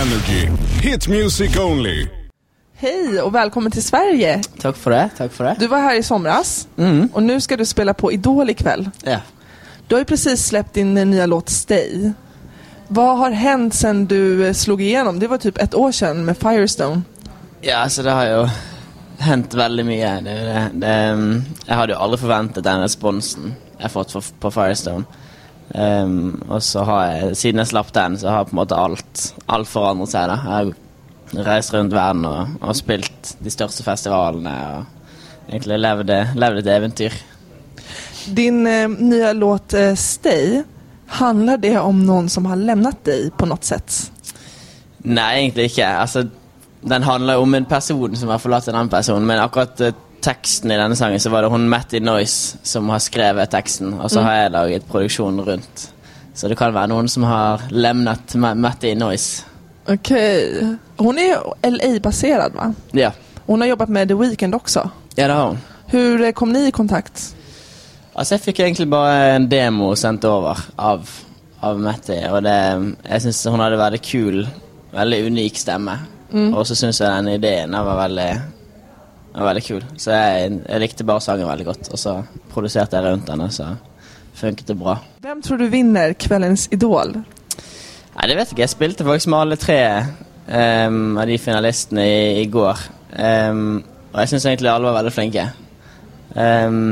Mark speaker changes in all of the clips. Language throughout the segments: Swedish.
Speaker 1: Energy. Hit music only.
Speaker 2: Hej och välkommen till Sverige.
Speaker 3: Tack för det, tack för det.
Speaker 2: Du var här i somras och nu ska du spela på Idol ikväll.
Speaker 3: Ja.
Speaker 2: Du har ju precis släppt din eh, nya låt Stay. Vad har hänt sen du eh, slog igenom? Det var typ ett år sedan med Firestone.
Speaker 3: ja, alltså det har ju hänt väldigt mycket. Det, det, det, um, jag hade ju aldrig förväntat den responsen jag fått för, på Firestone. Um, och så har jag, sedan jag slapp den så har på en måte allt, allt förändrat sig. Da. Jag har rest runt världen och, och spelat de största festivalerna och egentligen levde, levde ett äventyr.
Speaker 2: Din eh, nya låt eh, Stay, handlar det om någon som har lämnat dig på något sätt?
Speaker 3: Nei, egentlig ikke. Altså, Alltså, den handler om en person som har forlatt en annen person, men akkurat eh, teksten i denne sangen, så var det hun Matty Noise som har skrevet teksten, og så har jeg laget produksjonen rundt. Så det kan være noen som har lemnet Ma- Matty Noise.
Speaker 2: Okej. Hon är ju LA-baserad va?
Speaker 3: Ja.
Speaker 2: Hon har jobbat med The Weeknd också.
Speaker 3: ja, det har hun.
Speaker 2: Hur eh, kom ni i kontakt?
Speaker 3: Altså, jeg fikk egentlig bare en demo sendt over av, av Matty, og det, jeg syns hun hadde veldig kul, veldig unik stemme. Og så syns jeg den ideen den var veldig, den var veldig kul. Så jeg, jeg likte bare sangen veldig godt, og så produserte jeg rundt den, og så funket det bra.
Speaker 2: Vem tror du vinner kvällens Idol?
Speaker 3: Nei, det vet jeg ikke. Jeg spilte faktisk med alle tre ehm, av de finalistene i, i går. Ehm, og jeg syns egentlig alle var veldig flinke. Ehm,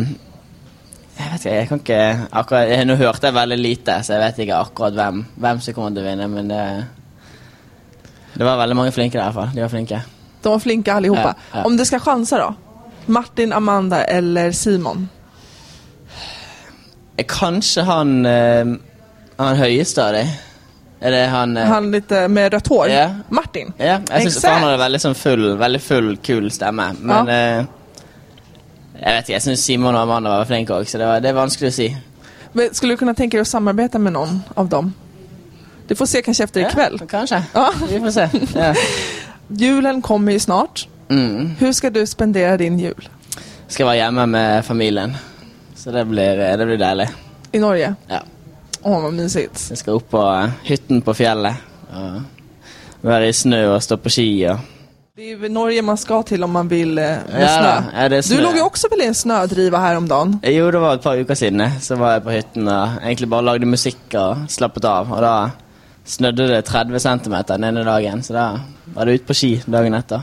Speaker 3: jeg vet ikke, jeg kan ikke akkurat, jeg, Nå hørte jeg veldig lite, så jeg vet ikke akkurat hvem, hvem som kommer til å vinne, men det Det var veldig mange flinke der, iallfall. De var flinke.
Speaker 2: De var flinka allihopa.
Speaker 3: Ja, ja.
Speaker 2: Om du ska chansa då? Martin, Amanda eller Simon?
Speaker 3: Eh, Kanskje han uh, Han høyeste av dem? Er det han eh,
Speaker 2: Han lite med rött hår.
Speaker 3: Ja.
Speaker 2: Martin?
Speaker 3: Ja, jeg syns
Speaker 2: Exakt.
Speaker 3: han hadde veldig sånn liksom full, veldig full, kul stemme. Men
Speaker 2: Ja.
Speaker 3: eh, jeg vet ikke, jeg syns Simon og Amanda var flinke òg, så det, var, det er vanskelig å si.
Speaker 2: Men Skulle du kunna tänka dig att samarbeta med någon av dem? Du får se kanske efter ikväll.
Speaker 3: Ja, kanskje.
Speaker 2: Ja.
Speaker 3: Vi får se. Ja.
Speaker 2: Julen kommer ju snart.
Speaker 3: Mm.
Speaker 2: Hur ska du spendera din jul?
Speaker 3: Skal være hjemme med familien, så det blir, eh, det blir deilig.
Speaker 2: I Norge?
Speaker 3: Ja.
Speaker 2: Åh, vad mysigt.
Speaker 3: Så jeg skal opp på eh, hytten på fjellet og være i snø og stå på ski och
Speaker 2: Det är ju Norge man ska till om man vill eh, med
Speaker 3: Ja,
Speaker 2: snö.
Speaker 3: ja, det är snö.
Speaker 2: Du låg ju också väl i en snödriva häromdagen?
Speaker 3: Eh, Jo, det var et par uker siden. eh, Så var jeg på hytten og egentlig bare lagde musikk og slappet av. Og da snødde det 30 cm den ene dagen, så da var det ut på ski dagen etter.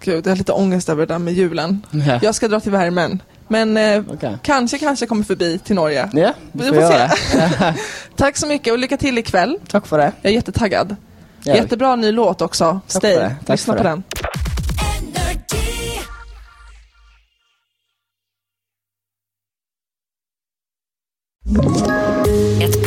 Speaker 2: Gud, jag har lite ångest över det där med julen.
Speaker 3: Ja.
Speaker 2: Jag ska dra till värmen. Men eh,
Speaker 3: Okej.
Speaker 2: kanske, kanske kommer förbi till Norge.
Speaker 3: Ja,
Speaker 2: Vi
Speaker 3: du
Speaker 2: får
Speaker 3: får gjøre
Speaker 2: se.
Speaker 3: det. Ja,
Speaker 2: Tack så mycket och lycka till ikväll.
Speaker 3: takk for det.
Speaker 2: Jag är jättetaggad.
Speaker 3: Ja.
Speaker 2: Jättebra ny låt också.
Speaker 3: Tack
Speaker 2: Stay.
Speaker 3: för det. Tack
Speaker 2: Lyssna
Speaker 3: för
Speaker 2: på
Speaker 3: det.
Speaker 2: den.
Speaker 4: Energy.
Speaker 5: Ett